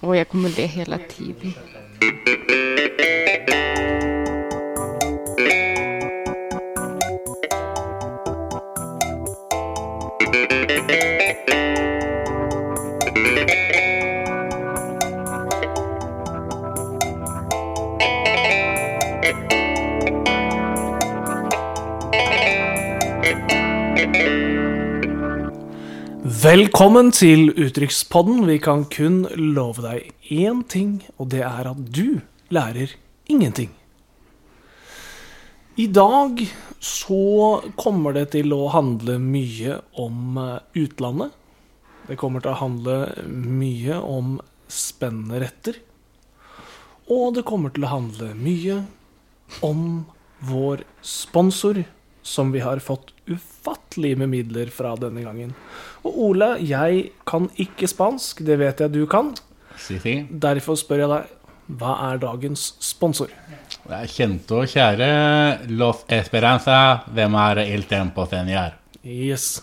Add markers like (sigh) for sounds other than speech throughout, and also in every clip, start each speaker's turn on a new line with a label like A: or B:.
A: Och jag kommer le hela tiden.
B: Velkommen til Utenrikspodden. Vi kan kun love deg én ting, og det er at du lærer ingenting. I dag så kommer det til å handle mye om eh, utlandet. Det kommer til å handle mye om spennende retter. Og det kommer til å handle mye om vår sponsor, som vi har fått ufattelig med midler fra denne gangen. Og Ole, jeg kan ikke spansk, det vet jeg du kan.
C: Si ting.
B: Derfor spør jeg deg, hva er dagens sponsor?
C: Det er kjente og kjære Los Esperanza, hvem er Il Tempo Senior?
B: Yes.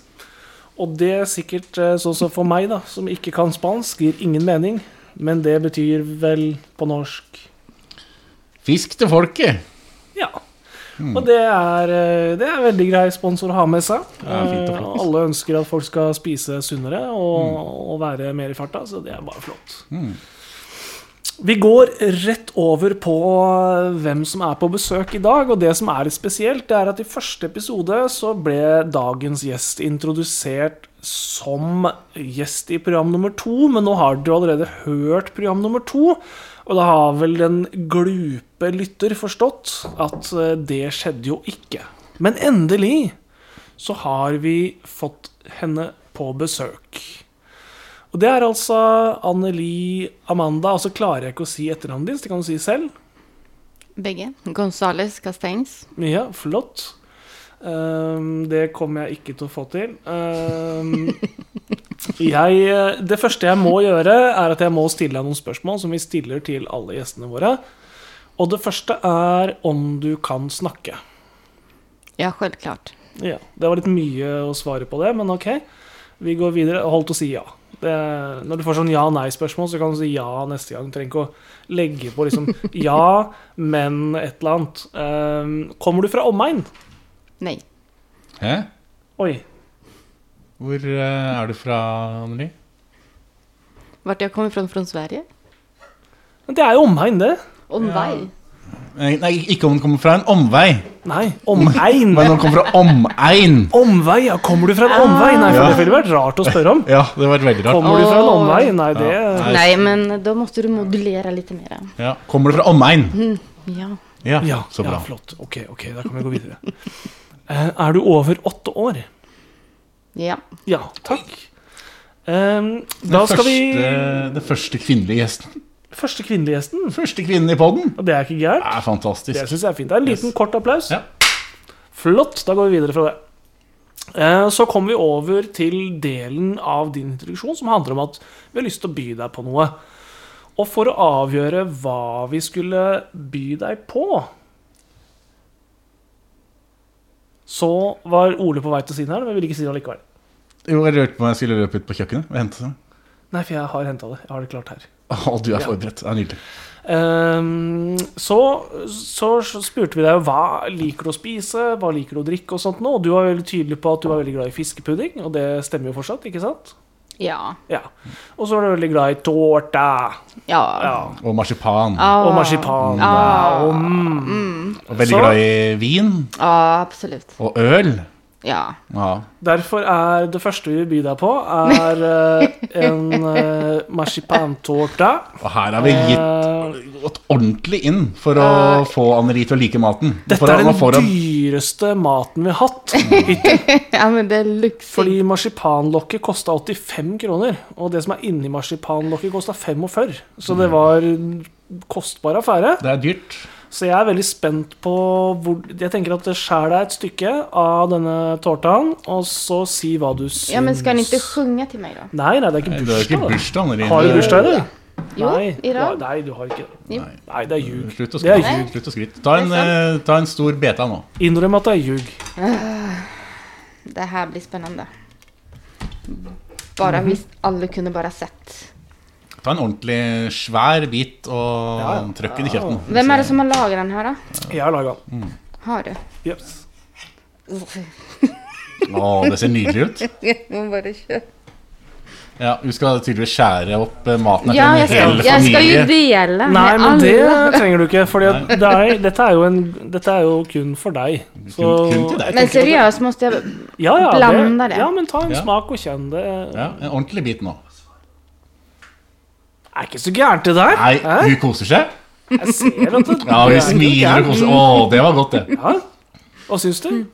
B: Og det er sikkert eh, sånn som for meg, da, som ikke kan spansk, gir ingen mening. Men det betyr vel på norsk
C: Fisk til folket!
B: Ja.
C: Hmm.
B: Og det er, eh, det er en veldig grei sponsor å ha med seg.
C: Ja, fint og
B: Eh,
C: flott. Hmm.
B: Alle ønsker at folk skal spise sunnere og, og være mer i farta, så det er bare flott. Vi går rett over på hvem som er på besøk i dag. Og det som er litt spesielt, det er at i første episode så ble dagens gjest introdusert som gjest i program nummer to, men nå har du allerede hørt program nummer to. Og da har vel den glupe lytter forstått at eh, det skjedde jo ikke. Men endelig så har vi fått henne på besøk. Og det er altså Anneli Amanda. Altså klarer jeg ikke å si etternavnet ditt, det kan du si selv.
A: Begge. Gonzales Castains.
B: Ja, flott. Ehm, det kommer jeg ikke til å få til. Ehm, jeg, eh, det første jeg må gjøre, er at jeg må stille deg noen spørsmål som vi stiller til alle gjestene våre. Og det første er om du kan snakke.
A: Ja, självklart.
B: Ja, Det var litt mye å svare på det, men ok. Vi går videre. Holdt å si ja. Det, når du får sånn ja-nei-spørsmål, så kan du si ja neste gang. Du trenger ikke å legge på liksom ja, men et eller annet. Ehm, kommer du fra omegn?
A: Nej.
C: Hæ?
B: Oi.
C: Hvor eh, er du fra, Anneli?
A: Vart jag kommer ifrån från Sverige?
B: Men det er jo omegn, det.
A: Omvaj.
C: Nei, nei, ikke om den kommer fra en omvei,
B: Nei, omegn.
C: (laughs) men om den kommer fra omegn.
B: Omvei, ja. Kommer du fra en omvei? Nei, for
C: Ja.
B: det ville vært rart å spørre om.
C: Ah. (laughs) Ja, det var veldig rart.
B: Kommer du fra en
A: Åh.
B: omvei? Nei, det
C: Ja.
A: Nej, men då måste du modulera lite mera.
C: Ja. Kommer du fra omegn?
A: Ja.
C: Ja,
B: Ja,
C: så
B: ja
C: bra.
B: flott. Ok, ok, da kan vi gå videre. Eh, er du over åtte år?
A: Ja.
B: Ja, takk. Ehm,
C: Den
B: da skal
C: første,
B: vi
C: Den første kvinnelige gjesten.
B: Første kvinnelige gjesten.
C: Første kvinnen i podden.
B: Og det er ikke
C: Det
B: gærent.
C: er fantastisk.
B: Det syns jeg er fint. Det er En liten,
C: Yes.
B: kort applaus.
C: Ja.
B: Flott. Da går vi videre fra det. Eh, Så kommer vi over til delen av din introduksjon som handler om at vi har lyst til å by deg på noe. Og for å avgjøre hva vi skulle by deg på Så var Ole på vei til å si det her, men jeg ville ikke si det likevel.
C: Jo, jeg lurte på om jeg skulle løpe ut på kjøkkenet og hente sånn. det.
B: Nei, for jeg har henta det. Jeg har det klart her.
C: Å, du er forberedt. Det er nydelig.
B: Ehm, så, så spurte vi deg jo, hva liker du å spise, hva liker du å drikke og sånt nå. Og du var veldig tydelig på at du var veldig glad i fiskepudding, og det stemmer jo fortsatt, ikke sant?
A: Ja.
B: Ja. Og så var du veldig glad i tårta
A: Ja.
B: ja.
C: Og marsipan.
A: Ah.
B: og marsipan.
A: Ja.
C: Og veldig
B: Så-
C: glad i vin
A: Ja, absolut.
C: og øl.
A: Ja.
C: Ja.
B: Derfor er det første vi vil by deg på, er eh, en uh, marsipantårta.
C: Og her har vi
B: Eh.
C: gitt gått ordentlig inn for å få Anneli til å like maten.
B: Dette
C: For
B: er
C: nå får
B: den
C: hun-
B: dyreste maten vi har hatt hittil.
A: Ja, men det är lyxigt.
B: Fordi marsipanlokket kosta 85 kroner, og det som er inni marsipanlokket, kosta 45. Så
A: Mm.
B: det var en kostbar affære.
C: Det er dyrt.
B: Så jeg er veldig spent på hvor Jeg tenker at skjær deg et stykke av denne tårtaen, og så si hva du syns.
A: Ja, men ska ni inte sjunga till mig då?
B: Nei, nei, det er ikke
C: Du har jo ikke
B: bursdag. da.
C: bursdag, Anneli.
B: Har du bursdag, eller?
A: Jo,
B: nei, du
A: idag.
B: har, nei, du har ikke det.
A: Jo.
B: Nei, det er ljug.
C: Slutt å
B: Det er
C: skryte. Slutt å skryte. Ta, en,
A: Det er
C: eh, ta en stor beta nå.
B: Innrøm at det er ljug.
A: Det här Mhm. blir spännande. Bara vi alla kunde bara sett.
C: Ta en ordentlig svær bit og
B: Ja, ja.
C: trøkk den i kjeften.
A: Hvem er det som har laget den her, da?
B: Jeg har laga den.
A: Har du?
B: Yes.
C: Å, det ser nydelig ut.
A: Jeg må bare kjøre.
C: Ja, Du skal tydeligvis skjære opp eh, maten her
A: Ja, jeg
C: til en
A: skal,
C: hel
A: jeg skal jo
C: familie.
A: dele med
B: Nei, men
A: alle.
B: det trenger du ikke. For det er, dette, er jo en, dette er jo kun for deg.
C: Kun- kun til deg.
A: Men seriøst, måtte jeg
B: Ja, ja,
A: Blande
B: det,
A: det.
B: ja, men ta en
C: Ja.
B: smak og kjenn det.
C: Ja, En ordentlig bit nå.
B: Er ikke så gærent, det der.
C: Nei,
B: Hæ?
C: hun koser seg.
B: Jeg ser at det
C: (laughs) Ja,
B: det
C: Hun
B: er ikke
C: smiler og
B: gærent.
C: koser Å, det var godt, det.
B: Ja. Hva syns du?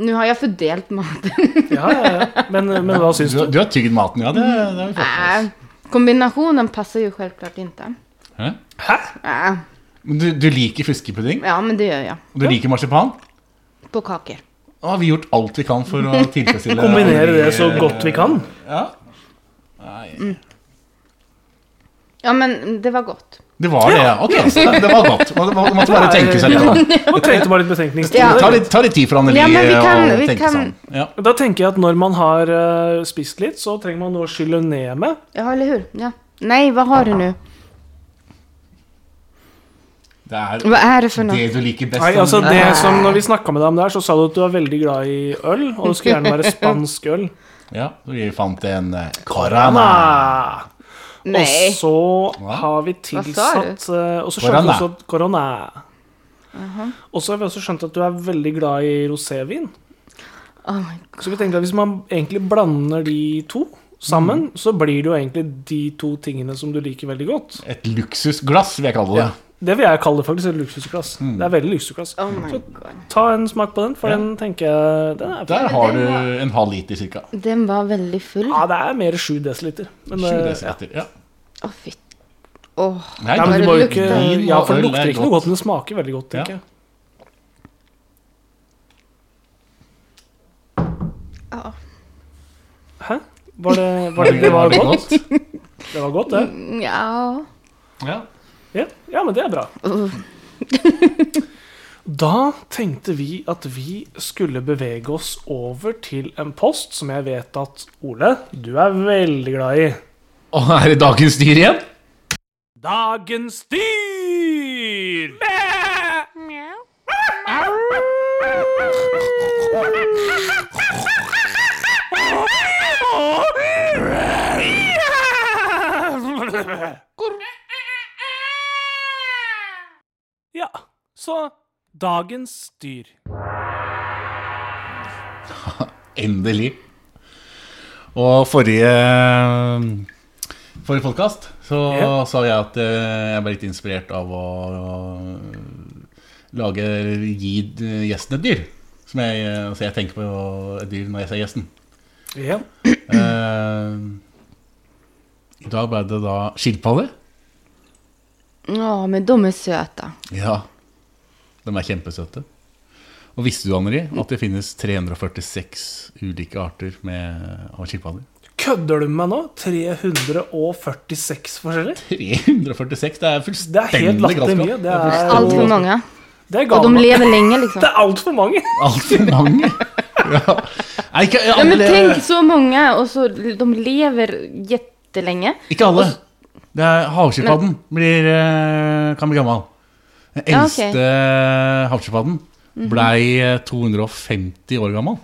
A: Nå har jeg fordelt
B: (laughs)
A: maten.
B: Ja, ja, ja. Men, eh, men hva syns
C: Du,
B: du?
C: du har tygd maten, ja. Det, det har vi fått med oss.
A: Nei, Kombinationen passar ju självklart inte.
C: Hæ?
B: Hæ?
A: Nej,
C: Men du, du liker fiskepudding?
A: Ja, men det gör jag.
C: Og du liker marsipan?
A: På kakor.
C: Da har vi gjort alt vi kan
A: (laughs)
C: for å tilfredsstille
B: Kombinere det så godt vi kan?
C: Ja. Nei.
A: Ja, men det var gott.
C: Det var det, ja. Ok, så det, det var godt. Man, man måtte bare tenke seg litt om.
B: Man trengte bare litt betenkningstid.
A: Ja.
C: Ta litt, ta litt tid for Annelie
A: Ja, men vi kan-
C: å
A: vi
C: tenke
A: kan-
C: seg om. Ja.
B: Da tenker jeg at når man har eh, spist litt, så trenger man noe å skylle ned med.
A: Ja, eller hur? Ja. Nej, vad har du nu?
C: Det er
A: Vad är det för något?
C: det du liker best.
B: Nei, altså
C: Annelie.
B: det som Når vi snakka med deg om det her, så sa du at du er veldig glad i øl, og det skulle gjerne være spansk øl.
C: Ja, så vi fant en eh, Corana.
B: Ah. Og
A: Nej.
B: så har vi
A: Hva sa
B: tilsatt eh, Og så skjønte vi
C: Corona.
B: også at Corona Og så har vi også skjønt at du er veldig glad i rosévin.
A: Oh my God.
B: Så vi tenkte at hvis man egentlig blander de to sammen,
C: Mm.
B: så blir det jo egentlig de to tingene som du liker veldig godt.
C: Et luksusglass, vil jeg kalle det.
B: Det vil jeg kalle det faktisk et luksusglass. Det er veldig luksusglass.
A: Oh my God.
B: Ta en smak på den, for
C: Mm. Ja.
B: den tenker jeg den er,
C: Der har du en halv liter ca.
A: Den var veldig full.
B: Ja, det er mer 7 dl. Men, eh,
C: Sju
B: ja.
C: desiliter. Ja.
A: Å, fy. Åh.
B: Nei,
C: Nei,
B: men
A: det
B: du må jo
A: lukter-
B: ikke
C: Vin
B: Ja,
C: og
B: for det
C: øl er
B: lukter ikke noe
C: godt.
B: godt, men det smaker veldig godt, tenker
C: Ja.
B: jeg.
A: Ja.
B: Hæ? Var det, var det, det var godt? Det var godt, det.
A: Ja.
C: Ja.
B: Ja, ja men det er bra.
A: Uh,
B: Da tenkte vi at vi skulle bevege oss over til en post som jeg vet at Ole, du er veldig glad i.
C: Og er det dagens dyr igjen?
B: Dagens dyr! Ja, så dagens dyr.
C: Endelig. Og forrige Forrige podkast så
B: Ja.
C: sa jeg at eh, jeg ble litt inspirert av å, å lage Gi d- gjesten et dyr. Som jeg, eh, så jeg tenker på et dyr når jeg ser gjesten.
B: Ja.
C: Eh, I dag ble det da skilpadde.
A: ja, men de är söta.
C: Ja. De er kjempesøte. Og visste du, Anneli, at det finnes 346 ulike arter med, av skilpadder?
B: Kødder du med meg nå? 346 forskjeller?
C: 346,
B: Det
C: det er
B: er helt
C: fullstendig
B: latterlig mye.
C: galskap.
B: Det er,
A: Allt för många.
B: Det er
A: Och de
B: gale.
A: lever länge liksom.
B: Det er altfor mange!
C: Altfor mange. Ja. Nei, ikke
A: Ja, men
C: alle.
A: tänk så många och så de lever jättelänge.
C: Ikke alle. Det er Havskilpadden blir, eh, kan bli gammel. Den
A: Ja,
C: eldste
A: ok. Mhm.
C: havskilpadden blei eh, 250 år gammel.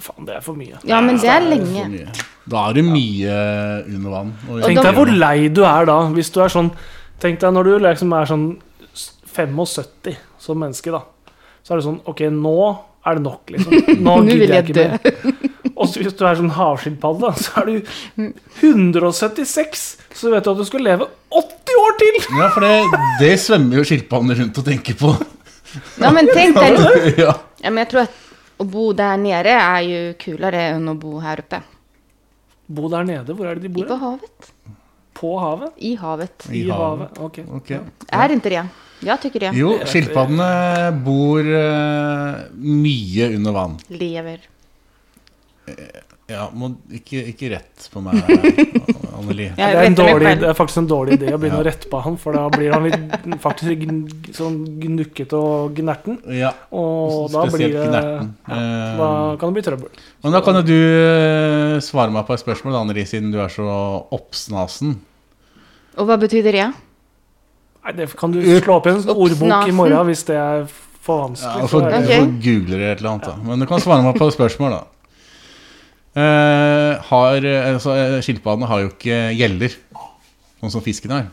B: Faen, det er for mye. altså.
A: Ja, men det är
C: For
A: länge.
C: mye. Da er det mye under vann. Og
B: Tenk deg hvor lei du er da, hvis du er sånn Tenk deg når du liksom er sånn s- 75 som menneske, da. Så er det sånn Ok, nå er det nok, liksom. Nå
A: Nå vil
B: gidder jeg
A: jeg
B: ikke mer. Og så hvis du er sånn havskilpadde, da, så er du 176, så vet du at du skal leve 80 år til!
C: Ja, for det, det svømmer jo skilpadder rundt og tenker på.
A: Ja, men tänk
C: (laughs)
A: dig.
C: ja.
A: Ja, men jag tror att att bo där nere är ju kulare än att bo här uppe.
B: Bo der nede. Hvor er det de
A: I på
B: bor? da?
A: havet.
B: På havet?
A: I havet.
B: I havet. Ok.
C: Ok.
A: Är inte det? Jag tycker det.
C: Jo, skilpaddene bor eh, mye under vann.
A: Lever.
C: Ja, må, ikke, ikke rett på meg, (laughs) Anneli.
A: Jeg
B: det, er en
A: retter meg
B: dårlig,
A: selv.
B: det er faktisk en dårlig idé å (laughs) begynne
C: Ja.
B: å rette på han, for da blir han litt faktisk gn- sånn gnukkete og gnerten.
C: Ja,
B: Og da blir
C: spesielt Eh,
B: det
C: gnerten.
B: Da kan det bli trøbbel.
C: Men da kan jo du eh, svare meg på et spørsmål, da, Anneli, siden du er så oppsnasen.
A: Og hva betyr det?
B: Nei, det kan du slå opp i en sånn ordbok i morgen hvis det er for
C: Ja, altså,
B: vanskelig. så
C: for,
B: er
A: Ok.
B: det-
C: for googler eller et eller annet, da. Men du kan svare meg på et spørsmål, da. Eh, har, eh, altså, eh, skilpaddene har jo ikke gjeller, sånn som fisken har.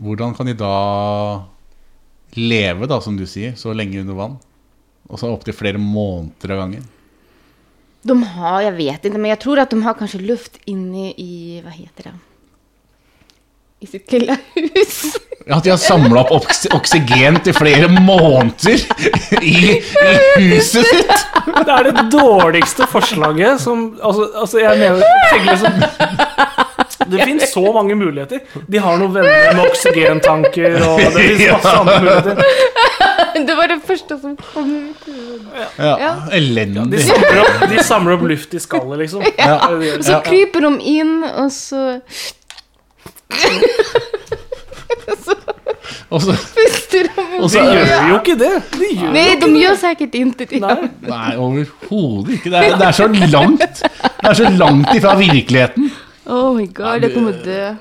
C: Hvordan kan de da leve, da, som du sier, så lenge under vann? Og så opptil flere måneder av gangen.
A: De har, jeg vet ikke, men jeg tror at de har kanskje luft inne i, hva heter det? I sitt lilla hus. (laughs)
C: Ja, At de har samla opp oks oksygen til flere måneder i, i huset sitt!
B: Det er det dårligste forslaget som Altså, altså jeg mener tenker liksom, sånn- Det finnes så mange muligheter. De har noen venner med oksygentanker, og det
C: (laughs)
B: sånn. finnes masse andre muligheter.
A: Det var det første som kom ut.
C: Ja,
A: Ja.
B: De
C: Elendig.
B: samler opp, de samler opp luft i skallet, liksom. Det er
C: Ja.
B: det de gjør.
A: Og så kryper de inn, og så (laughs)
C: Og så
A: puster de ut.
C: og
B: De
C: så-
B: gjør jo ikke det. De gjør.
A: Nei, de gjør sikkert ikke det.
B: Nei.
C: Nei, overhodet ikke. Det er, det er så langt Det er så langt ifra virkeligheten.
A: Oh my god, jeg kommer å dø.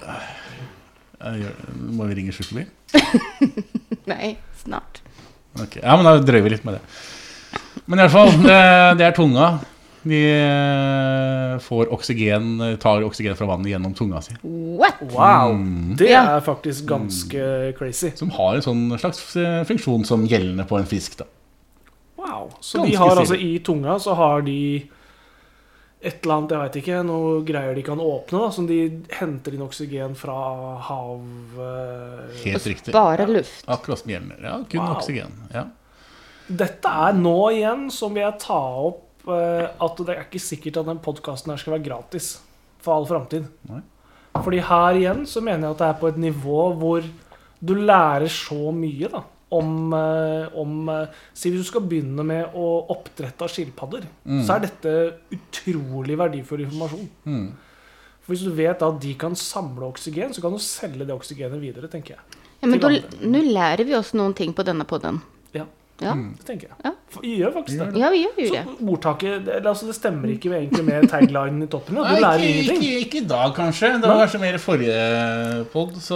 C: Jeg gjør- Må vi ringe sjukebil?
A: Nei, snart.
C: Ok, Ja, men da drøyer vi litt med det. Men i alle fall, det, det er tunga. De eh, får oksygen, tar oksygen fra vannet gjennom tunga si.
A: What?
B: Wow.
C: Mm.
B: Det er faktisk ganske crazy.
C: Som har en sånn slags eh, funksjon som gjeldende på en fisk. da
B: Wow. Så
C: Ganske
B: de har altså
C: stilig.
B: i tunga så har de et eller annet, jeg veit ikke, noe greier de kan åpne, da, som de henter inn oksygen fra hav... eh.
C: Helt riktig.
A: Bare luft.
C: Akkurat som gjeldende. Ja, kun
B: Wow.
C: oksygen. Ja.
B: Dette er nå igjen, som vil jeg ta opp, eh, at det er ikke sikkert at den podkasten her skal være gratis for all framtid.
C: Nei.
B: Fordi her igjen så mener jeg at det er på et nivå hvor du lærer så mye, da. Om, eh, om eh, Si hvis du skal begynne med å oppdrette av skilpadder, så er dette utrolig verdifull informasjon.
C: Mm.
B: For Hvis du vet da at de kan samle oksygen, så kan du selge det oksygenet videre, tenker jeg.
A: Ja, men da- nå lærer vi oss noen ting på denne podden.
B: Ja,
A: Ja,
C: Mm.
B: det tenker jeg.
A: Ja.
B: For- Gjør faktisk det.
A: ja vi gjør jo det.
B: Så ordtaket det, altså det stemmer ikke egentlig med taglinen i toppen. Da. Du lærer
C: Nei, ikke,
B: ingenting.
C: ikke, ikke i dag, kanskje. Det var kanskje mer i forrige pod. Så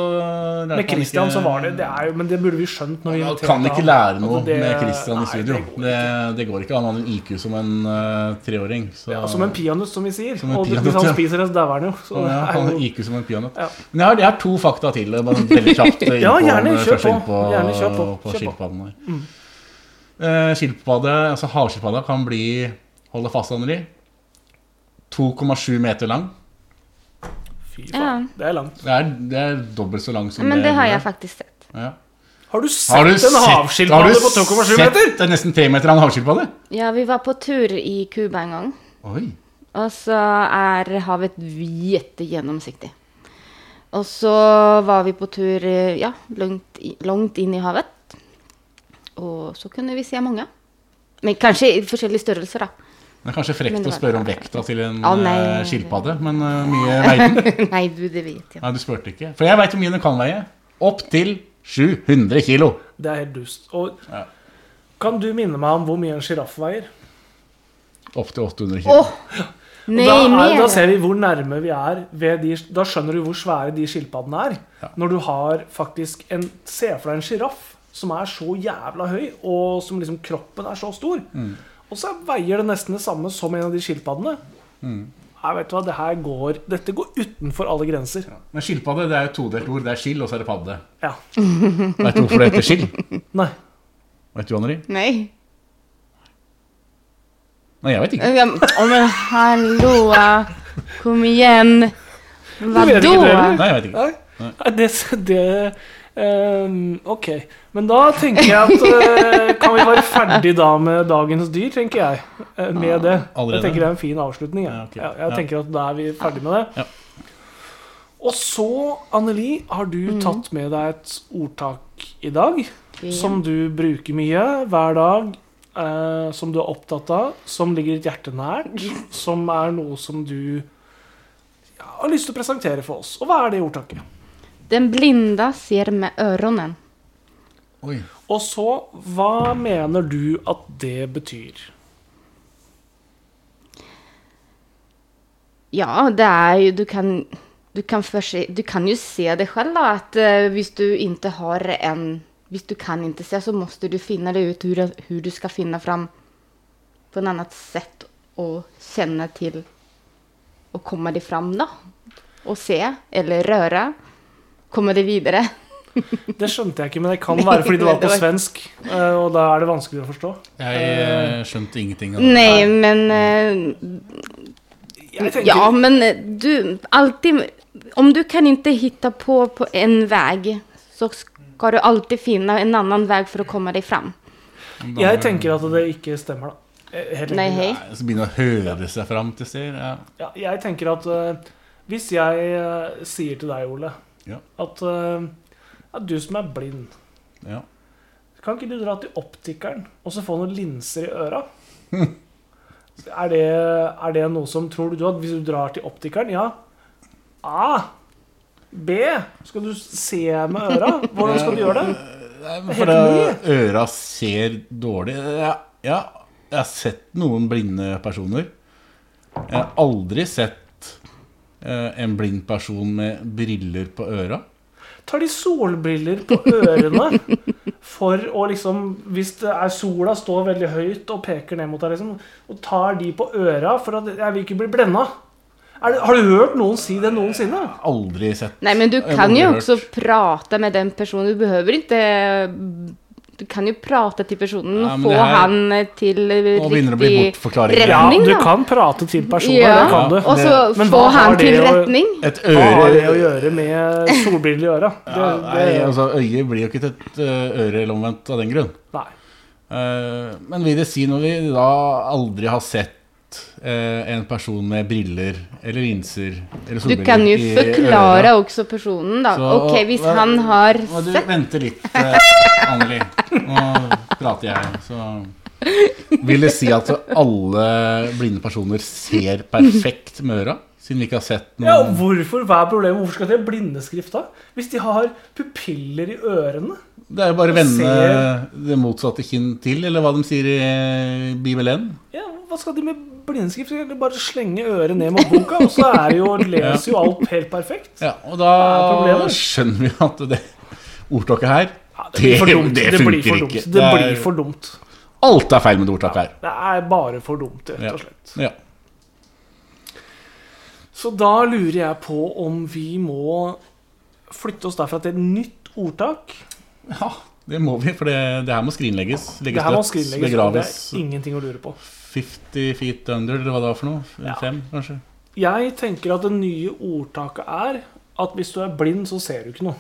C: lærte
B: Med
C: man
B: Christian
C: ikke-
B: så var det, det er jo, Men det burde vi skjønt. når vi
C: Man
B: inviterte
C: kan ikke
B: han.
C: lære noe
B: Altså, det-
C: med Christian
B: nei,
C: i studio.
B: det går
C: Det, det går ikke. Han har en IQ som en eh, treåring. Så,
B: Ja, som en peanøtt, som vi sier.
C: Som en
B: og
C: peanøtt,
B: hvis han
C: ja.
B: spiser det, så dauer han jo. Så
C: ja,
B: det er
C: han
B: jo-
C: har IQ som en peanøtt.
B: Ja.
C: Men jeg har, jeg har to fakta til. eh, Bare
B: (laughs)
C: veldig kjapt eh,
B: Ja,
C: innpå,
B: gjerne,
C: eh,
B: kjør
C: først
B: på.
C: innpå,
B: Gjerne, kjør på. Kjør
C: på
B: på. Mm.
C: skilpadden her. Eh, skilpadde, altså Havskilpadda kan bli Hold deg fast, Anneli. 2,7 meter lang.
B: Fy
A: Ja.
B: faen, det er langt.
C: Det er, det er dobbelt så lang som
A: Men det har jeg
C: bildet.
A: faktisk sett.
C: Ja.
B: Har du
C: Har
B: sett
C: du
B: en
C: sett, har
B: havskilpadde
C: du
B: på 2,7
C: sett
B: meter?
C: en nesten tre meter lang havskilpadde?
A: Ja, vi var på tur i Cuba en gang,
C: Oi.
A: og så er havet jättegjennomsiktig. Og så var vi på tur eh, ja, langt, i- langt inn i havet, og så kunne vi se mange. Men kanskje i forskjellige
C: (laughs)
A: størrelser, da.
C: Det er kanskje
A: Men
C: frekt
A: det
C: å
A: var-
C: spørre om vekta til en
A: Å, nei.
C: eh, skilpadde, men eh, mye veier den.
A: (laughs) Nei, du, det vet jeg.
C: Nei, du spurte ikke. For jeg veit hvor mye den kan veie. Opptil 700 kilo.
B: Det er helt dust. Og
C: Ja.
B: kan du minne meg om hvor mye en sjiraff veier?
C: Opptil 800
A: Åh!
C: kilo.
A: Nei,
B: da, er,
A: mer!
B: da ser vi hvor nærme vi er ved de Da skjønner du hvor svære de skilpaddene er. Når du har faktisk en Se for deg en sjiraff som er så jævla høy, og som liksom kroppen er så stor. Og så veier det nesten det samme som en av de skilpaddene. Nei, vet du hva, det her går, dette går utenfor alle grenser.
C: Men skilpadde det er jo et todelt ord. Det er skill, og så er det padde.
B: Ja.
C: Veit du hvorfor det heter skill?
B: Nei.
C: Vet du, Anneli?
A: Nei.
C: Nei, jeg veit ikke.
A: Ja, men- Å, men hallo! Kom igjen! Hva
B: vet ikke det, eller?
A: da?
C: Nei, jeg vet ikke.
B: Nei. Nei, Det, det ehm, Ok. Men da tenker jeg at eh, Kan vi være ferdig da med dagens dyr, tenker jeg. eh, Med det.
C: Allerede?
B: Jeg tenker det er en fin avslutning. Jeg,
C: Ja, ok.
B: ja, jeg
C: Ja.
B: tenker at da er vi ferdig med det.
C: Ja.
B: Og så, Anneli, har du tatt med deg et ordtak i dag
A: Ja.
B: som du bruker mye hver dag eh, som du er opptatt av, som ligger ditt hjerte nært, som er noe som du ja, har lyst til å presentere for oss. Og hva er det ordtaket?
A: Den blinda ser med ørene.
C: Oi.
B: Og så, hva mener du at det betyr?
A: Ja, det er jo Du kan, du kan, først, du kan jo se det selv, da. At eh, hvis du ikke har en Hvis du kan ikke se, så må du finne det ut hvordan du skal finne fram på en annet sett og kjenne til å komme det fram, da. Og se, eller røre. Komme det videre.
B: Det skjønte jeg ikke, men det kan være fordi det var på svensk. eh, Og da er det vanskelig å forstå.
C: Jeg eh, skjønte ingenting av det.
A: Nei, men eh,
B: Jeg tenker,
A: Ja, men eh, du alltid Om du kan inte hitta på, på en väg så ska du alltid finna en annan väg för att komma dig fram.
C: Da-
B: jeg tenker at det ikke stemmer, da. Eh, Helt
A: Nei,
B: enkelt.
A: hei.
C: Nei, Så begynner å høre seg fram til steder. Ja.
B: Ja, jeg tenker at eh, hvis jeg eh, sier til deg, Ole,
C: Ja.
B: at eh, ja, du som er blind,
C: Ja.
B: kan ikke du dra til optikeren og så få noen linser i øra? er, det, er det noe som tror du at hvis du drar til optikeren, ja A. B. Skal du se med øra? Hvordan skal du gjøre det?
C: Nei, men
B: Det er
C: For
B: helt
C: det, øra ser dårlig ja, ja, jeg har sett noen blinde personer. Jeg har aldri sett eh, en blind person med briller på øra.
B: Tar de solbriller på ørene for å liksom Hvis det er sola står veldig høyt og peker ned mot deg, liksom, og tar de på øra for at jeg vil ikke bli blenda? Er det, har du hørt noen si det noensinne?
C: Aldri sett
A: Nej, men du
C: Jeg
A: kan
C: har
A: ju
C: hört.
A: också prata med den personen. Du behöver inte... Du kan ju prata till personen och
C: Ja, men
A: få
C: det här-
A: han eh, till eh,
C: Nå begynner det å bli
A: riktig
C: bortforklaringer.
B: Ja,
A: retning.
B: du
A: da.
B: kan prate til
C: sånn,
B: personer, det
A: Ja,
B: kan du.
A: och så
B: Men
A: få
B: vad har
A: han till
B: det att-
A: rättning.
C: Et
B: Hva har det å
C: øre
B: gjøre med solbriller i (laughs) øra? Det,
C: ja, nei,
B: det,
C: altså, Øyet blir jo ikke til et eh, øre eller omvendt av den grunn.
B: nei.
C: Eh, men vil det si når vi da aldri har sett eh, en person med briller eller linser eller
A: Du
C: solbriller
A: kan ju
C: i øra?
A: förklara också personen då.
C: Så-
A: Okej, hvis
C: Hva-
A: han har
C: Må du
A: sett...
C: vente litt,
A: (laughs)
C: eh, Anneli. Nå prater jeg, så Vil det si at alle blinde personer ser perfekt med øra? Siden vi ikke har sett
B: Ja, og
C: noen
B: hvorfor hva er problemet? Hvorfor skal de ha blindeskrift da? Hvis de har pupiller i ørene?
C: Det er jo bare å
B: Ser.
C: vende det motsatte kinn til, eller hva de sier i eh, Bibelen.
B: Ja, Hva skal de med blindskrift? Skal de bare slenge øret ned mot boka, og så er det (laughs) jo, leser jo alt helt perfekt?
C: Ja, og
B: Hva er
C: da
B: problemet?
C: skjønner vi at det ordtaket her
B: Ja, det blir for
C: Det-
B: dumt.
C: det
B: Det blir
C: funker
B: for dumt.
C: ikke.
B: Det
C: Det er-
B: blir for dumt.
C: Alt er feil med det ordtaket her.
B: Det er bare for dumt, rett
C: Ja.
B: og slett.
C: Ja.
B: Så da lurer jeg på om vi må flytte oss derfra til et nytt ordtak.
C: ja, det må vi, for det, det her må skrinlegges. Legges
B: Det her må
C: dødt,
B: skrinlegges, og det
C: begraves.
B: er ingenting å lure på.
C: 50 feet under, eller hva det var for noe?
B: Ja.
C: Fem, kanskje?
B: Jeg tenker at det nye ordtaket er at hvis du er blind, så ser du ikke noe.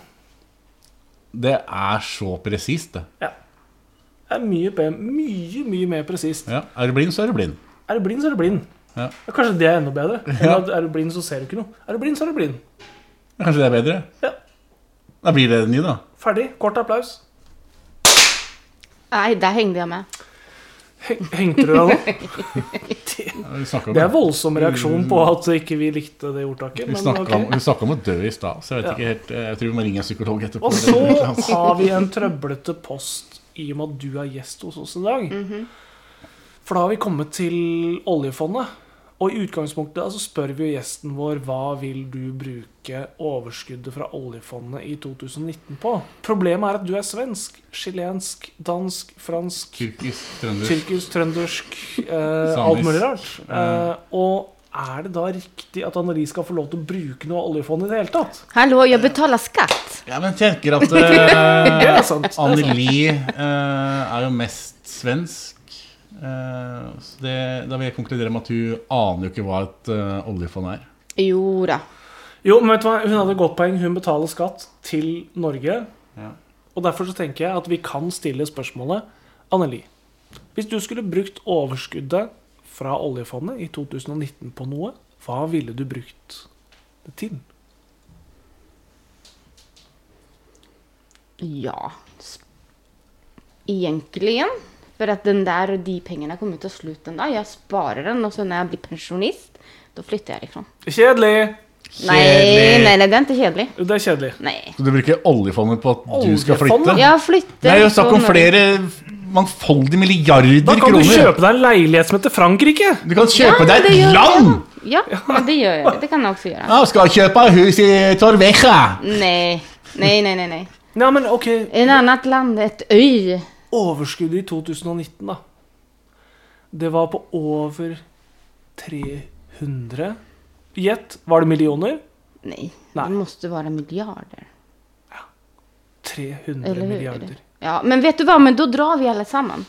C: Det er så presist, det.
B: Det er mye, pe- mye, mye mer presist.
C: Ja. Er du blind, så er du blind.
B: Er du blind, så er du blind.
C: Ja.
B: Ja, Kanskje det er enda bedre.
C: (laughs)
B: enn
C: Ja.
B: at Er du blind, så ser du ikke noe. Er du blind, så er du blind.
C: Kanskje det er bedre?
B: Ja.
C: Da blir det den nye, da.
B: Ferdig. Kort applaus.
A: Nej, där hängde jag med.
B: Heng- Hengte du deg
C: (laughs)
B: nå?
C: Ja, Vi snakka om,
B: Det er voldsom reaksjon på at ikke vi likte det ordtaket.
C: Mm. vi
B: Men
C: snakket om,
B: ok.
C: vi snakket om å dø i stad, så jeg vet
B: Ja.
C: ikke helt eh, Jeg tror vi må ringe en psykolog etterpå.
B: Og så (laughs) har vi en trøblete post i og med at du er gjest hos oss i dag. For da har vi kommet til oljefondet. Og i utgangspunktet så spør vi jo gjesten vår hva vil du bruke overskuddet fra oljefondet i 2019 på. Problemet er at du er svensk, chilensk, dansk, fransk
C: Kirkis, trønder.
B: Tyrkisk, trøndersk, eh, alt
C: Samisk.
B: mulig rart. Eh, og er det da riktig at Anneli skal få lov til å bruke noe av oljefondet i det hele tatt?
A: Hallå, jag betalar skatt.
C: Ja, men jeg tenker
B: (laughs)
C: at eh,
B: Det er sant. det er sant.
C: Anneli eh, er jo mest svensk. Eh, så det, da vil jeg konkludere med at hun aner jo ikke hva et eh, oljefond er.
A: Jo då.
B: Jo, men vet du hva? Hun hadde et godt poeng. Hun betaler skatt til Norge.
C: Ja.
B: Og derfor så tenker jeg at vi kan stille spørsmålet Anneli, hvis du skulle brukt overskuddet fra oljefondet i 2019 på noe, hva ville du brukt det til?
A: Ja. s- Egentligen. för For at den der og de pengene kommer til å slutte en dag. Jeg sparer den, og så når jeg blir pensjonist, da flytter jeg derifra.
B: Kjedelig!
A: Nei, nei, nei, det er ikke kjedelig.
B: Det er kjedelig.
A: Nei.
C: Så du bruker oljefondet på at du skal
B: Oljefondet?
C: flytte?
A: Ja, flytte
C: Det er jo snakk om
A: så-
C: flere mangfoldige milliarder
B: Da kan
C: kroner.
B: du kjøpe deg en leilighet som heter Frankrike!
C: Du kan
A: Ja,
C: kjøpe
A: men
C: deg
A: det gjør jeg
C: et land!
A: da. Ja, men det gjør jeg. Det kan jeg også gjøre.
C: Ja, skal kjøpe hus i Torveja.
A: Nei. Nei, nei, nei. nei.
B: Ja, men ok,
A: En annet land, et øy.
B: overskuddet i 2019, da. Det var på over 300 Gjett, var det millioner?
A: Nei,
B: Nei.
A: det måste være milliarder.
B: 300
A: Eller hur?
B: milliarder.
A: Ja, men vet du hva, men da drar vi alle sammen.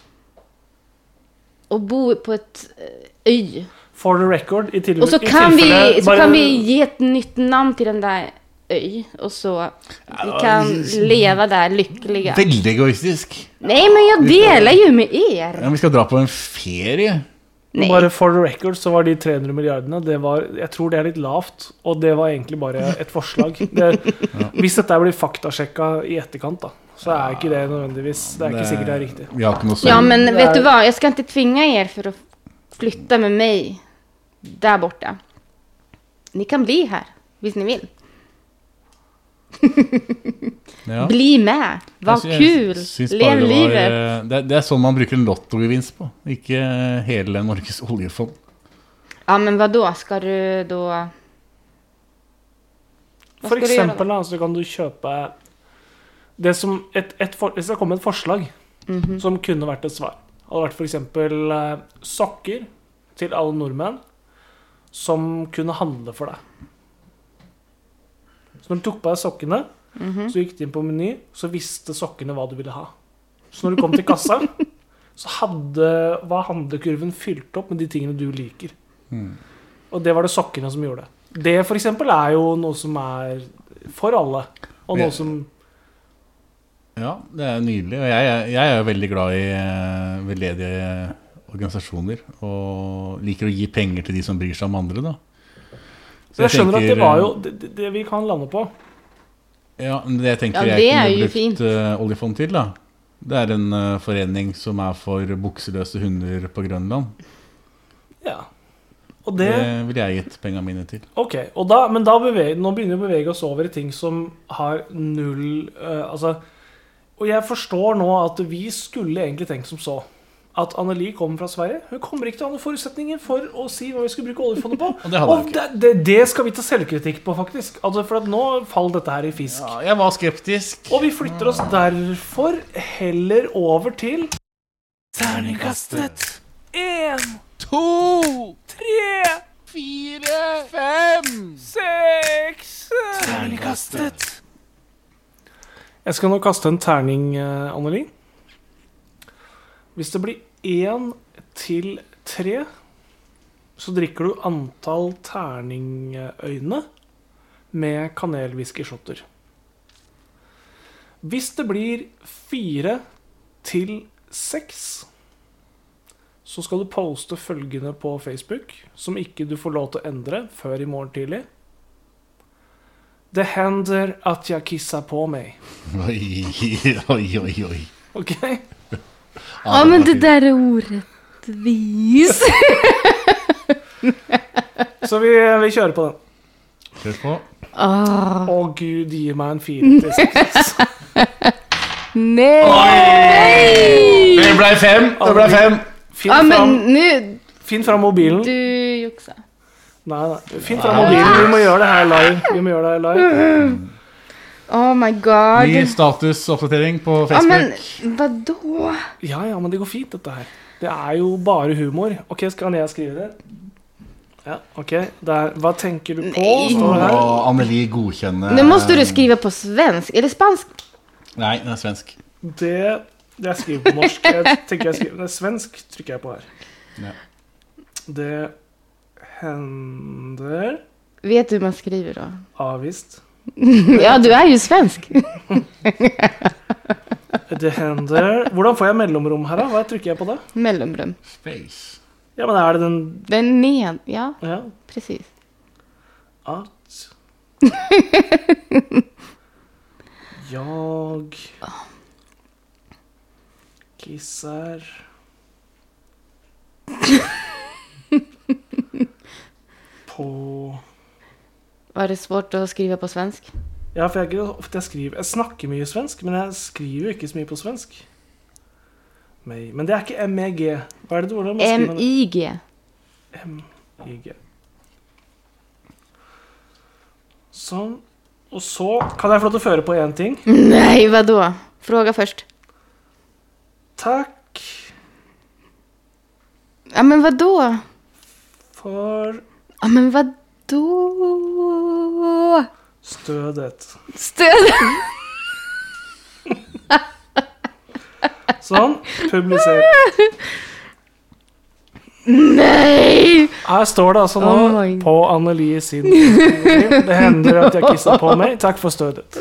A: Og bor på et eh, øy.
C: Mm.
B: For the record, i, til,
A: Og så
B: i
A: kan, vi,
B: tilfelle
A: så
B: bare-
A: kan vi gi et nytt navn til den der øy, og så vi kan leve der lykkelige.
C: Veldig egoistisk.
A: Nei, men jeg deler jo med er.
C: Ja, vi skal dra på en ferie.
A: Nei.
B: Bare for the record så var de 300 milliardene det var, Jeg tror det er litt lavt, og det var egentlig bare
A: (laughs)
B: et forslag. Det, Hvis dette blir faktasjekka i etterkant, da, så er ikke det nødvendigvis Det er ikke sikkert det er riktig.
C: Vi har ikke noe
A: Ja,
C: søvn.
A: men
B: Det
A: vet
B: er-
A: du hva, jeg skal ikke tvinge er for å flytte med meg der borte. Ni kan bli her, hvis ni vil.
C: Ja.
A: Bli med! Hva
C: Jeg sy- jeg
A: kul!
C: syns bare
A: Lev
C: det var,
A: livet!
C: eh, Det, det er sånn man bruker en lottogevinst på, ikke hele Norges oljefond.
A: Ja, men hva da? Skal du da Hva
B: For
A: skal du gjøre
B: eksempel da, så kan du kjøpe det som et, et for, Hvis det kommer et forslag
A: Mhm.
B: som kunne vært et svar Hadde vært f.eks. sokker til alle nordmenn som kunne handle for deg. Så når du tok på deg sokkene, så gikk du inn på Meny, så visste sokkene hva du ville ha. Så når du kom til kassa, så hadde, var handlekurven fylt opp med de tingene du liker. Og det var det sokkene som gjorde. Det for eksempel er jo noe som er for alle. Og
C: Ja.
B: noe som
C: Ja, det er nydelig. Og jeg, er- jeg er jo veldig glad i eh, veldedige organisasjoner. Og liker å gi penger til de som bryr seg om andre, da.
B: Så jeg skjønner at det var jo det, det- det vi kan lande på.
C: eh, Ja, men det jeg tenker
A: Ja,
C: jeg
A: det er
C: kunne
A: jo
C: brukt
A: fint.
C: eh, oljefond til, da. Det er en eh, forening som er for bukseløse hunder på Grønland.
B: Ja. Og
C: Det,
B: det
C: ville jeg gitt pengene mine til.
B: Ok. Og da, men da beve- nå begynner vi å bevege oss over i ting som har null eh, Altså Og jeg forstår nå at vi skulle egentlig tenkt som så. At Anneli kommer fra Sverige. Hun kommer ikke til å ha noen forutsetninger for å si hva vi skal bruke oljefondet
C: (laughs)
B: på.
C: Og det hadde hun
B: og det, det, det skal vi ta selvkritikk på, faktisk. Altså, for at nå faller dette her i fisk.
C: Ja, jeg var skeptisk.
B: Og vi flytter oss derfor heller over til Terningkastet én, to, tre,
C: Fire, fem
B: seks Terningkastet. Jeg skal nå kaste en terning, eh, Anneli. Hvis det blir én til tre, så drikker du antall terningøyne med kanelwhiskyshotter. Hvis det blir fire til seks, så skal du poste følgende på Facebook, som ikke du får lov til å endre før i morgen tidlig. Det hender at jeg kisser på meg.
C: Oi, oi, oi. oi.
B: Ok?
A: Ja, men det der er urettvis! (laughs)
B: Så vi, vi kjører på den.
C: Kjør på.
A: Åh,
B: Å, gud, gi meg en fire til seks.
A: nei!
C: Det ble fem! Det ble fem.
A: Ja,
B: Finn
A: Ah, men
B: fram,
A: nå
B: finn fram mobilen.
A: Du juksa.
B: Nei, nei. Finn fram mobilen. Vi må gjøre det her live. Vi må gjøre det her live.
A: Oh my god.
C: Ny statusoppdatering på
A: Ja,
C: Facebook.
A: men hva da?
B: Ja, ja, men det går fint, dette her. Det er jo bare humor. OK, skal jeg skrive det? Ja, OK. Der. Hva tenker du på?
A: Nei.
B: Står det her.
C: Og Anneli godkjenne
A: Nå må du skrive på svensk. Eller spansk?
C: Nei, den er svensk.
B: Det jeg skriver på norsk Jeg tenker jeg skriver Det er svensk trykker jeg på her.
C: Ja.
B: Det hender
A: Vet du hur man skriver da?
B: Avvist.
A: (laughs) Ja, du er jo (laughs) svensk.
B: Det hender Hvordan får jeg mellomrom her, da? Hva trykker jeg på da?
A: Mellomrum.
C: Space.
B: Ja, men er det den
A: Det er ned. Ja,
B: Ja.
A: precis.
B: At Jeg Kisser På
A: Var det svårt å skrive på svensk?
B: Ja, for jeg, er ikke ofte jeg, skriver, jeg snakker mye svensk, men jeg skriver jo ikke så mye på svensk. Meg. Men det er ikke MEG. Hva er det ordet man skriver?
A: MIG.
B: MIG. Sånn. Og så kan jeg få lov til å føre på én ting.
A: Nej, vadå? Fråga först.
B: Takk
A: Ja, men vadå?
B: for
A: Ja, men vadå?
B: stødet.
A: Stöd!
B: Sånn. Publiser.
A: Nej!
B: Her står det altså nå
A: Oh my-
B: på Anneli sin Det hender at jeg kisser på meg. Takk for stødet.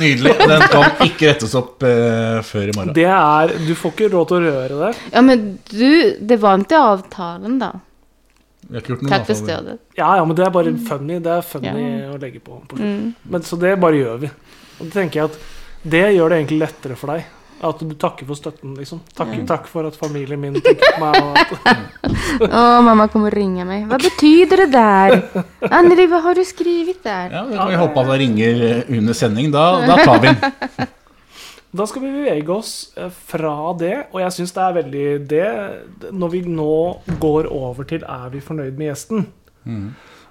C: Nydelig. Den kan ikke rettes opp eh, før i morgen.
B: Det er Du får ikke råd til å røre det.
A: Ja, men du, det var inte avtalen då.
C: Vi har ikke gjort noen
A: Tack för
C: avtaler.
A: stödet.
B: Ja, ja, men det er bare funny. Det er funny
A: Ja.
B: å legge på. på slutten.
A: Mm.
B: (laughs) Men, så det bare gjør vi. Og det tenker jeg at det gjør det egentlig lettere for deg. At du takker for støtten, liksom. Takk, takk for at familien min tenker på meg. Og at,
A: Åh, mamma kommer ringa mig. Vad betyder det där? Anneli, vad har du skrivit där?
C: Ja, da kan vi håpe at det ringer eh, under sending. Da, da tar vi den.
B: da skal vi bevege oss eh, fra det, og jeg syns det er veldig det Når vi nå går over til 'er vi fornøyd med gjesten',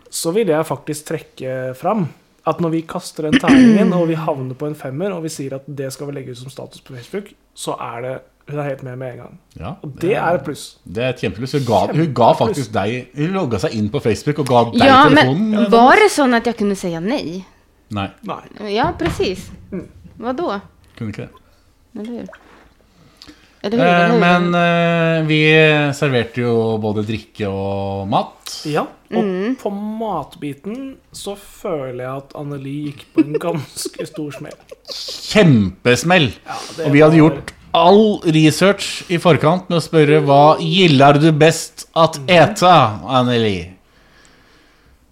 B: så vil jeg faktisk trekke fram at når vi kaster en terning inn, og vi havner på en femmer, og vi sier at det skal vi legge ut som status på Facebook, så er det Hun er helt med med en gang.
C: Ja,
B: Og det er et pluss.
C: det er et kjempelyst. Hun ga, hun ga faktisk deg Hun logga seg inn på Facebook og ga deg
A: Ja,
C: telefonen.
A: men var det sånn så att jag kunde säga nej?
C: Nei,
B: Nei.
A: Ja, precis. Vadå?
C: kunne ikke det.
A: Eller hur? Eller hur?
C: Eh,
A: Eller hur?
C: men eh, vi serverte jo både drikke og mat.
B: Ja, og på matbiten så føler jeg at Anneli gikk på en ganske stor smell.
C: Kjempesmell!
B: det
C: og vi hadde
B: var-
C: gjort all research i forkant med å spørre hva gillar du best at
B: Mhm.
C: äta, Anneli?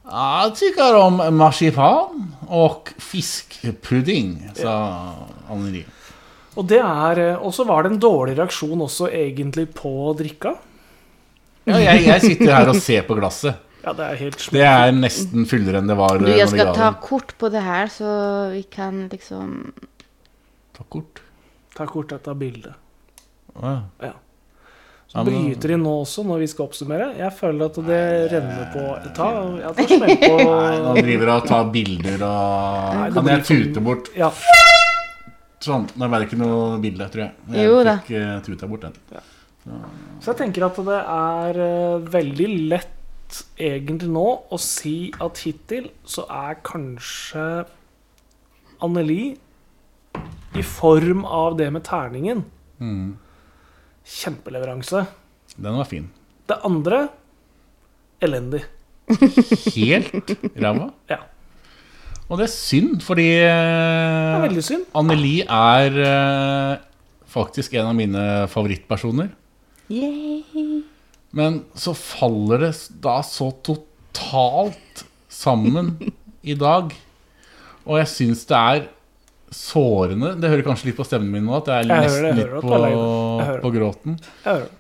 C: Jeg tykker om marsipan og fiskpudding, sa Anneli.
B: Og det er, eh, og så var det en dårlig reaksjon også egentlig på drikka.
C: Ja, jeg, jeg sitter her og ser på glasset.
B: Ja, det er helt smell.
C: Det er nesten fullere enn det var.
A: Du,
C: eh,
A: jag
C: når vi ga
A: ska ta
C: det.
A: kort på det här så vi kan liksom...
C: Ta kort.
B: Ta kort dette bildet.
C: Å, ja.
B: Så
C: men-
B: bryter inn nå også, når vi skal oppsummere. Jeg føler at det renner på Ta, ja, ta smell på
C: Nå driver jeg og tar bilder og Kan jeg tute bort
B: Ja,
C: Sånn. Nå var det ikke noe bilde, tror jeg. Jeg
A: Jo da.
C: fikk eh, tuta bort den.
B: Så jeg tenker at det er eh, veldig lett egentlig nå å si at hittil så er kanskje Anneli i form av det med terningen kjempeleveranse.
C: Den var fin.
B: Det andre elendig.
C: Helt ræva.
B: Ja.
C: Og det er synd, fordi
B: Det er
C: eh,
B: veldig synd.
C: Anneli er eh, faktisk en av mine favorittpersoner.
A: Yay!
C: Men så faller det da så totalt sammen i dag. Og jeg syns det er sårende Det hører kanskje litt på stemmen min nå at jeg er
B: Jeg hører
C: nesten
B: det, jeg hører
C: litt
B: at du er lei deg. Jeg
C: på,
B: hører
C: på gråten.
B: Jeg hører det.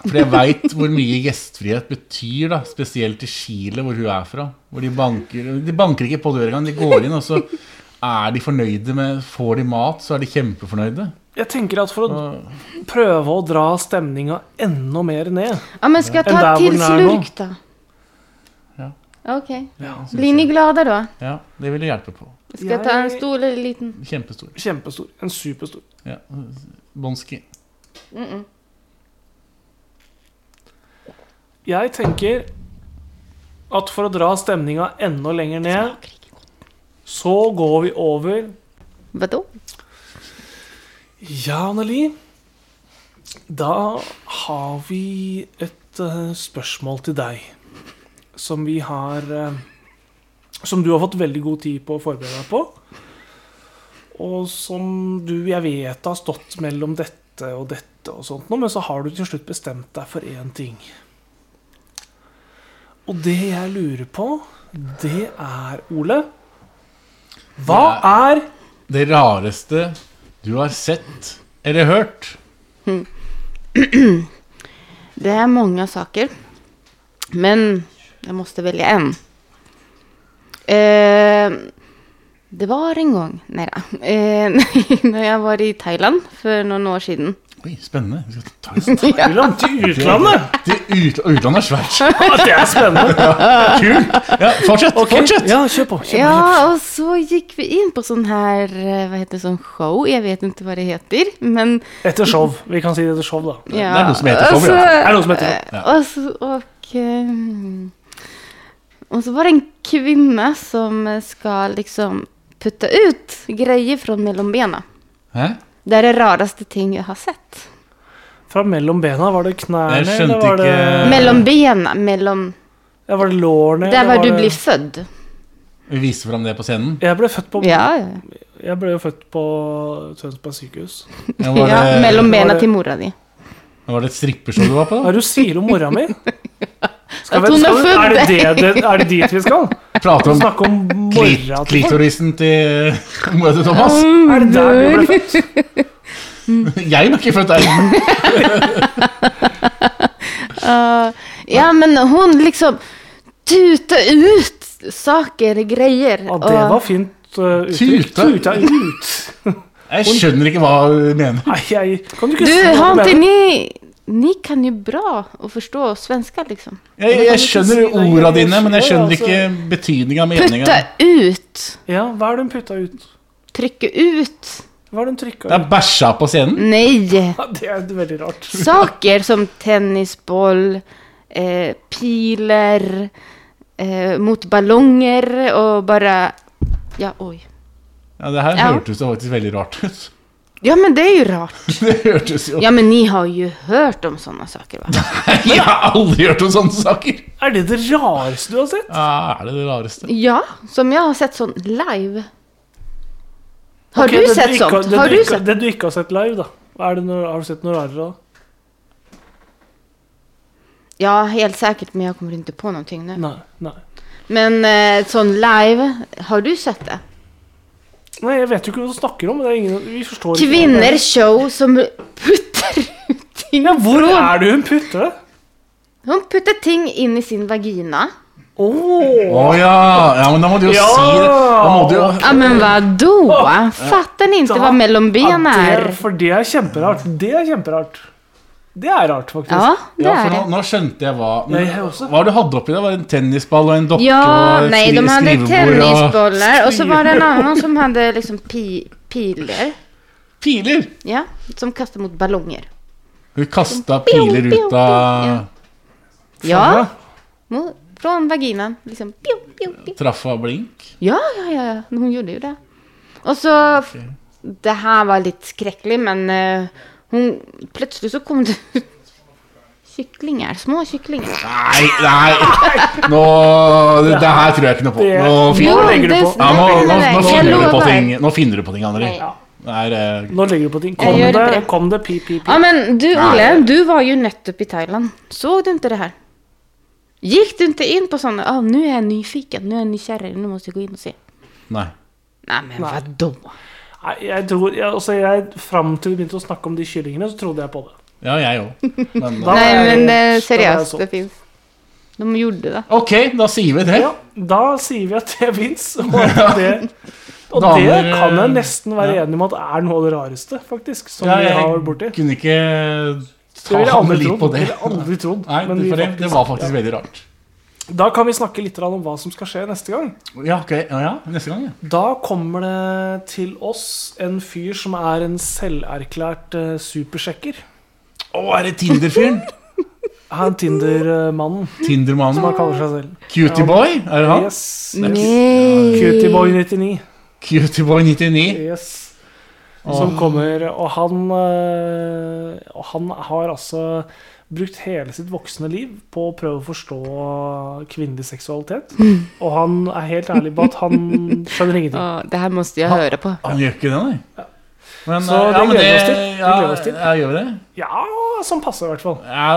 C: For jeg veit hvor mye gjestfrihet betyr, da, spesielt i Chile, hvor hun er fra. Hvor de banker De banker ikke på døra engang. De går inn, og så er de fornøyde med Får de mat, så er de kjempefornøyde.
B: Jeg tenker at for å
C: Og
B: prøve å dra stemninga enda mer ned
A: Ja, men ska jag
B: Den där
A: ta
B: var
A: till
B: den här
A: slurk då?
C: Ja.
A: Okej.
C: synes
A: Blir ni
C: jeg-
A: glada då?
C: Ja, det ville hjelpe på.
A: Ska jag ta en
B: Jeg-
A: stor eller liten?
C: Kjempestor.
B: Kjempestor. En superstor.
C: Ja. Bonski.
B: Jeg tenker at for å dra stemninga enda lenger ned, så går vi over
A: Vadå?
B: Ja, Anneli. Da har vi et eh, spørsmål til deg. Som vi har eh, Som du har fått veldig god tid på å forberede deg på. Og som du, jeg vet, har stått mellom dette og dette og sånt noe, men så har du til slutt bestemt deg for én ting. Og det jeg lurer på, det er, Ole Hva er
C: Det rareste du har sett eller hørt?
A: Det är många saker. Men jag måste välja en. Eh, det var en gång, nej då, eh, (laughs) när jag var i Thailand för några år sedan.
C: Oi, spennende. Vi skal ta oss en
B: Thailand til
C: (laughs)
B: utlandet!
C: tur til ut, utlandet er svært.
B: Ja, det er spennende. Kult.
C: Ja, fortsett! fortsett.
B: Ja, kjør på. Kjør på.
A: Ja, och så gick vi in på sån här, eh, vad heter det, sån show? Jag vet inte vad det heter, men
B: Etter show. Vi kan si det etter show, da.
A: ja.
C: det är något som heter så,
A: Och så-
C: ja. Det
B: är något som heter
C: så.
A: Och, så, och, ehm, och så var det en kvinna som ska liksom putta ut grejer från mellan benen.
C: Hæ?
A: Det är det raraste ting jag har sett.
B: Fra mellom bena, var det knærne,
C: Jeg skjønte
B: eller var det,
C: ikke-
A: Mellom benen, mellan...
B: ja, var det lårene?
A: Där
B: eller
A: var du
B: det-
A: blir född.
C: Vi viser fram det på scenen.
B: Jeg ble født på
A: Ja, ja.
B: Jeg ble jo født på Tønsberg sykehus.
C: Ja, var,
A: ja
C: det,
A: mellan
B: var
A: benen
B: det-
A: till mora di.
C: var det et strippeshow du var på?
B: Hva er det du sier om mora
A: (laughs)
B: mi? Skal
A: At hun har
B: er,
A: født
B: det det, det, er det dit vi skal?
C: da? Prater
B: (laughs)
C: om
B: Snakke om
C: klit,
B: mora til folk?
C: klitorisen til (laughs) mora til Thomas?
B: Er det der du ble født? Mm.
C: Jeg ble ikke født der.
A: Eh, ja, men hon liksom tuta ut saker, grejer.
B: Ja, det var fint uh, uttrykk.
C: Tute.
B: Tuta ut.
C: Jeg skjønner ikke hva du mener.
B: Nei, jeg Kan du ikke si
A: Du,
B: hva
A: har
B: du
A: inte
B: mener?
A: ni... Ni kan ju bra att förstå svenska liksom.
C: Jeg,
B: Men kan
C: jeg
B: du ikke
C: skjønner
B: si det? altså.
C: orda
B: Jeg
C: dine, men jeg
B: skjønner,
C: skjønner ikke betydninga av meninga.
A: Putta ut.
B: Ja, hva er det hun putta ut?
A: Trycka ut.
B: Hva er det hun trykka
C: Det er
B: ut?
C: bæsja på scenen.
A: Nej.
B: Ja, det er veldig rart.
A: Saker som tennisboll, eh, piler, eh, mot ballonger och bara... Ja, oj.
C: Ja, Det her
A: Ja.
C: hørtes jo faktisk veldig rart ut. (laughs)
A: Ja, men det är ju rart.
C: Det hørtes jo
A: Ja, men ni har ju hört om sådana saker va?
C: (laughs) Jeg har aldri hørt om sånne saker!
B: Er det det rareste du har sett?
C: Ja, er det det rareste?
A: Ja, som jag har sett sån live. Har
B: Ok,
A: du
B: det
A: sett
B: ikke har-
A: sånt?
B: det
A: Har du
B: ikke-
A: sett?
B: Det du ikke har sett live, da. Er det noe, har du sett noe rarere da?
A: Ja, helt säkert, men jag kommer inte på någonting nu.
B: Nei. nei.
A: Men eh, sån live, har du sett det?
B: Nei, jeg vet jo ikke hva du snakker om. men Det er ingen, vi forstår ikke hva det er.
A: Kvinner show som puttar ut ting.
B: Ja, hvor er det hun putter det?
A: Hon puttar ting in i sin vagina.
B: Åh
C: Å ja. ja! Men da må du jo
B: Ja.
C: si det. Da må du jo
A: Ja men vadå? Fattar ni inte vad mellomben
B: Ja, det,
A: är?
B: for det er kjemperart. Det er kjemperart. Det er rart, faktisk.
A: Ja, det
C: ja,
A: är
C: for nå,
A: det.
C: nå skjønte jeg hva
B: Nei,
C: men,
B: jeg også.
C: Hva var det du hadde oppi deg? Var det en tennisball og en dokke
A: Ja,
C: og et
A: nej, de
C: skri-
A: hade
C: skrivebord og
A: tennisbollar och så var det en annan som hade liksom pi piler.
C: Piler!
A: Ja, som kastade mot ballonger.
C: Hun kasta piler
A: pio,
C: ut av
A: pio, Ja, mo- från vaginan. Liksom, pio, pio, pio.
C: Traff av blink.
A: Ja, ja, ja, ja, hon gjorde ju det. Och så, det här var lite skräckligt men eh, hon, plötsligt så kom det (laughs) ut kycklingar, små kycklingar.
C: Nei, nei Nå Det, det her tror jeg ikke noe på.
B: Det-
C: Nå
B: Jo,
C: finner,
B: det- legger du på.
C: ja, nå, nå, nå
A: jag
C: finner du på ting,
A: lovar.
C: nå finner du på ting, Anneli.
A: Ja.
C: Det er eh,
B: Nå legger du på ting. Kom
A: gjør
B: det,
A: det.
B: kom det, pip, pip, pip.
A: Ja men du Olle, du var ju nettopp i Thailand. Såg du inte det här? Gick du inte in på sådana, ah, nu är jag nyfiken, nu är jag nykärring, nu måste jag gå in och se.
C: Nei.
A: Nej men
B: Nej.
A: vadå?
B: Nei, jeg tror, jeg, altså jeg, Fram til vi begynte å snakke om de kyllingene, så trodde jeg på det.
C: Ja, jeg òg. Men
B: Da- sånn.
C: eh,
A: Nej
B: är
A: men
B: det-
A: eh, seriöst,
B: det är så.
A: det finns. De gjorde det.
C: eh, Ok, da sier vi det.
B: Ja, da sier vi at det fins.
C: (laughs)
B: Og, at det, og det
C: Damer,
B: kan jeg
C: eh,
B: nesten være
C: ja.
B: enig med at er noe av det rareste, faktisk. Som
C: Ja,
B: vi har vært
C: jeg
B: borti.
C: kunne ikke
B: Det ville
C: ta
B: jeg aldri
C: litt
B: trodd.
C: på
B: Det ville
C: det.
B: jeg aldri trodd.
C: Nei,
B: men
C: det,
B: vi
C: for det,
B: faktisk-
C: det var faktisk veldig rart.
B: Da kan vi snakke litt grann om hva som skal skje neste gang.
C: Ja, ok, ja, ja, neste gang, ja.
B: Da kommer det til oss en fyr som er en selverklært eh, supersjekker.
C: Å, er det Tinder-fyren?
B: (laughs) Han Tinder-mannen, som han
C: Tinder-mannen?
B: kaller seg selv.
C: Cutie Boy? Er det han?
B: Yes.
A: Nej.
B: Cutieboy99.
C: Cutie Boy 99?
B: Yes. Som kommer, og han eh, Og han har altså brukt hele sitt voksne liv på å prøve å forstå kvinnelig seksualitet.
A: Mm.
B: Og han er helt ærlig på at han skjønner ingenting.
A: Ja, det här måste jag höra på.
C: Han gjør ikke det, nei. Men,
B: Så
C: eh,
B: det
C: men
B: gleder vi oss til. Det
C: Ja,
B: gleder vi oss til.
C: ja, gjør vi det?
B: Ja, sånn passer i hvert fall.
C: Ja,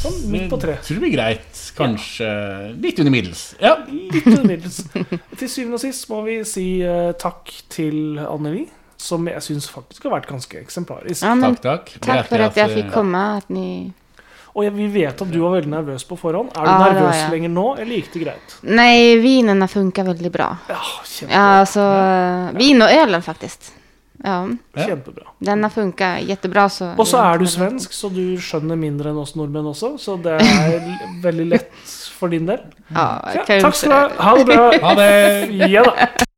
B: Sånn midt på treet.
C: Jeg Tror det blir greit. Kanskje litt under middels. Ja.
B: Litt under middels. Til syvende og sist må vi si eh, takk til Anneli, som jeg syns faktisk har vært ganske eksemplarisk.
A: Ja, men
C: Takk, takk.
A: tack för
C: Berättar
A: att jag
C: eh,
A: fick komma, att ni
B: Og jeg, vi vet at du var veldig nervøs på forhånd. Er du
A: Ja, det var
B: nervøs
A: jeg.
B: lenger nå, eller gikk det greit?
A: Nei, vinene funka veldig bra.
B: Ja, kjempe,
A: Ja, altså Vin og ølen, faktisk. Ja.
C: Ja.
B: kjempebra.
A: Den har funka jättebra. Så
B: Og så er du svensk, så du skjønner mindre enn oss nordmenn også. Så det er l- veldig lett for din del.
A: Ja,
B: Ja,
A: kan ju
B: takk
A: inte
B: skal du ha.
A: det.
B: Ha det bra.
C: Ha det!
B: Ja da.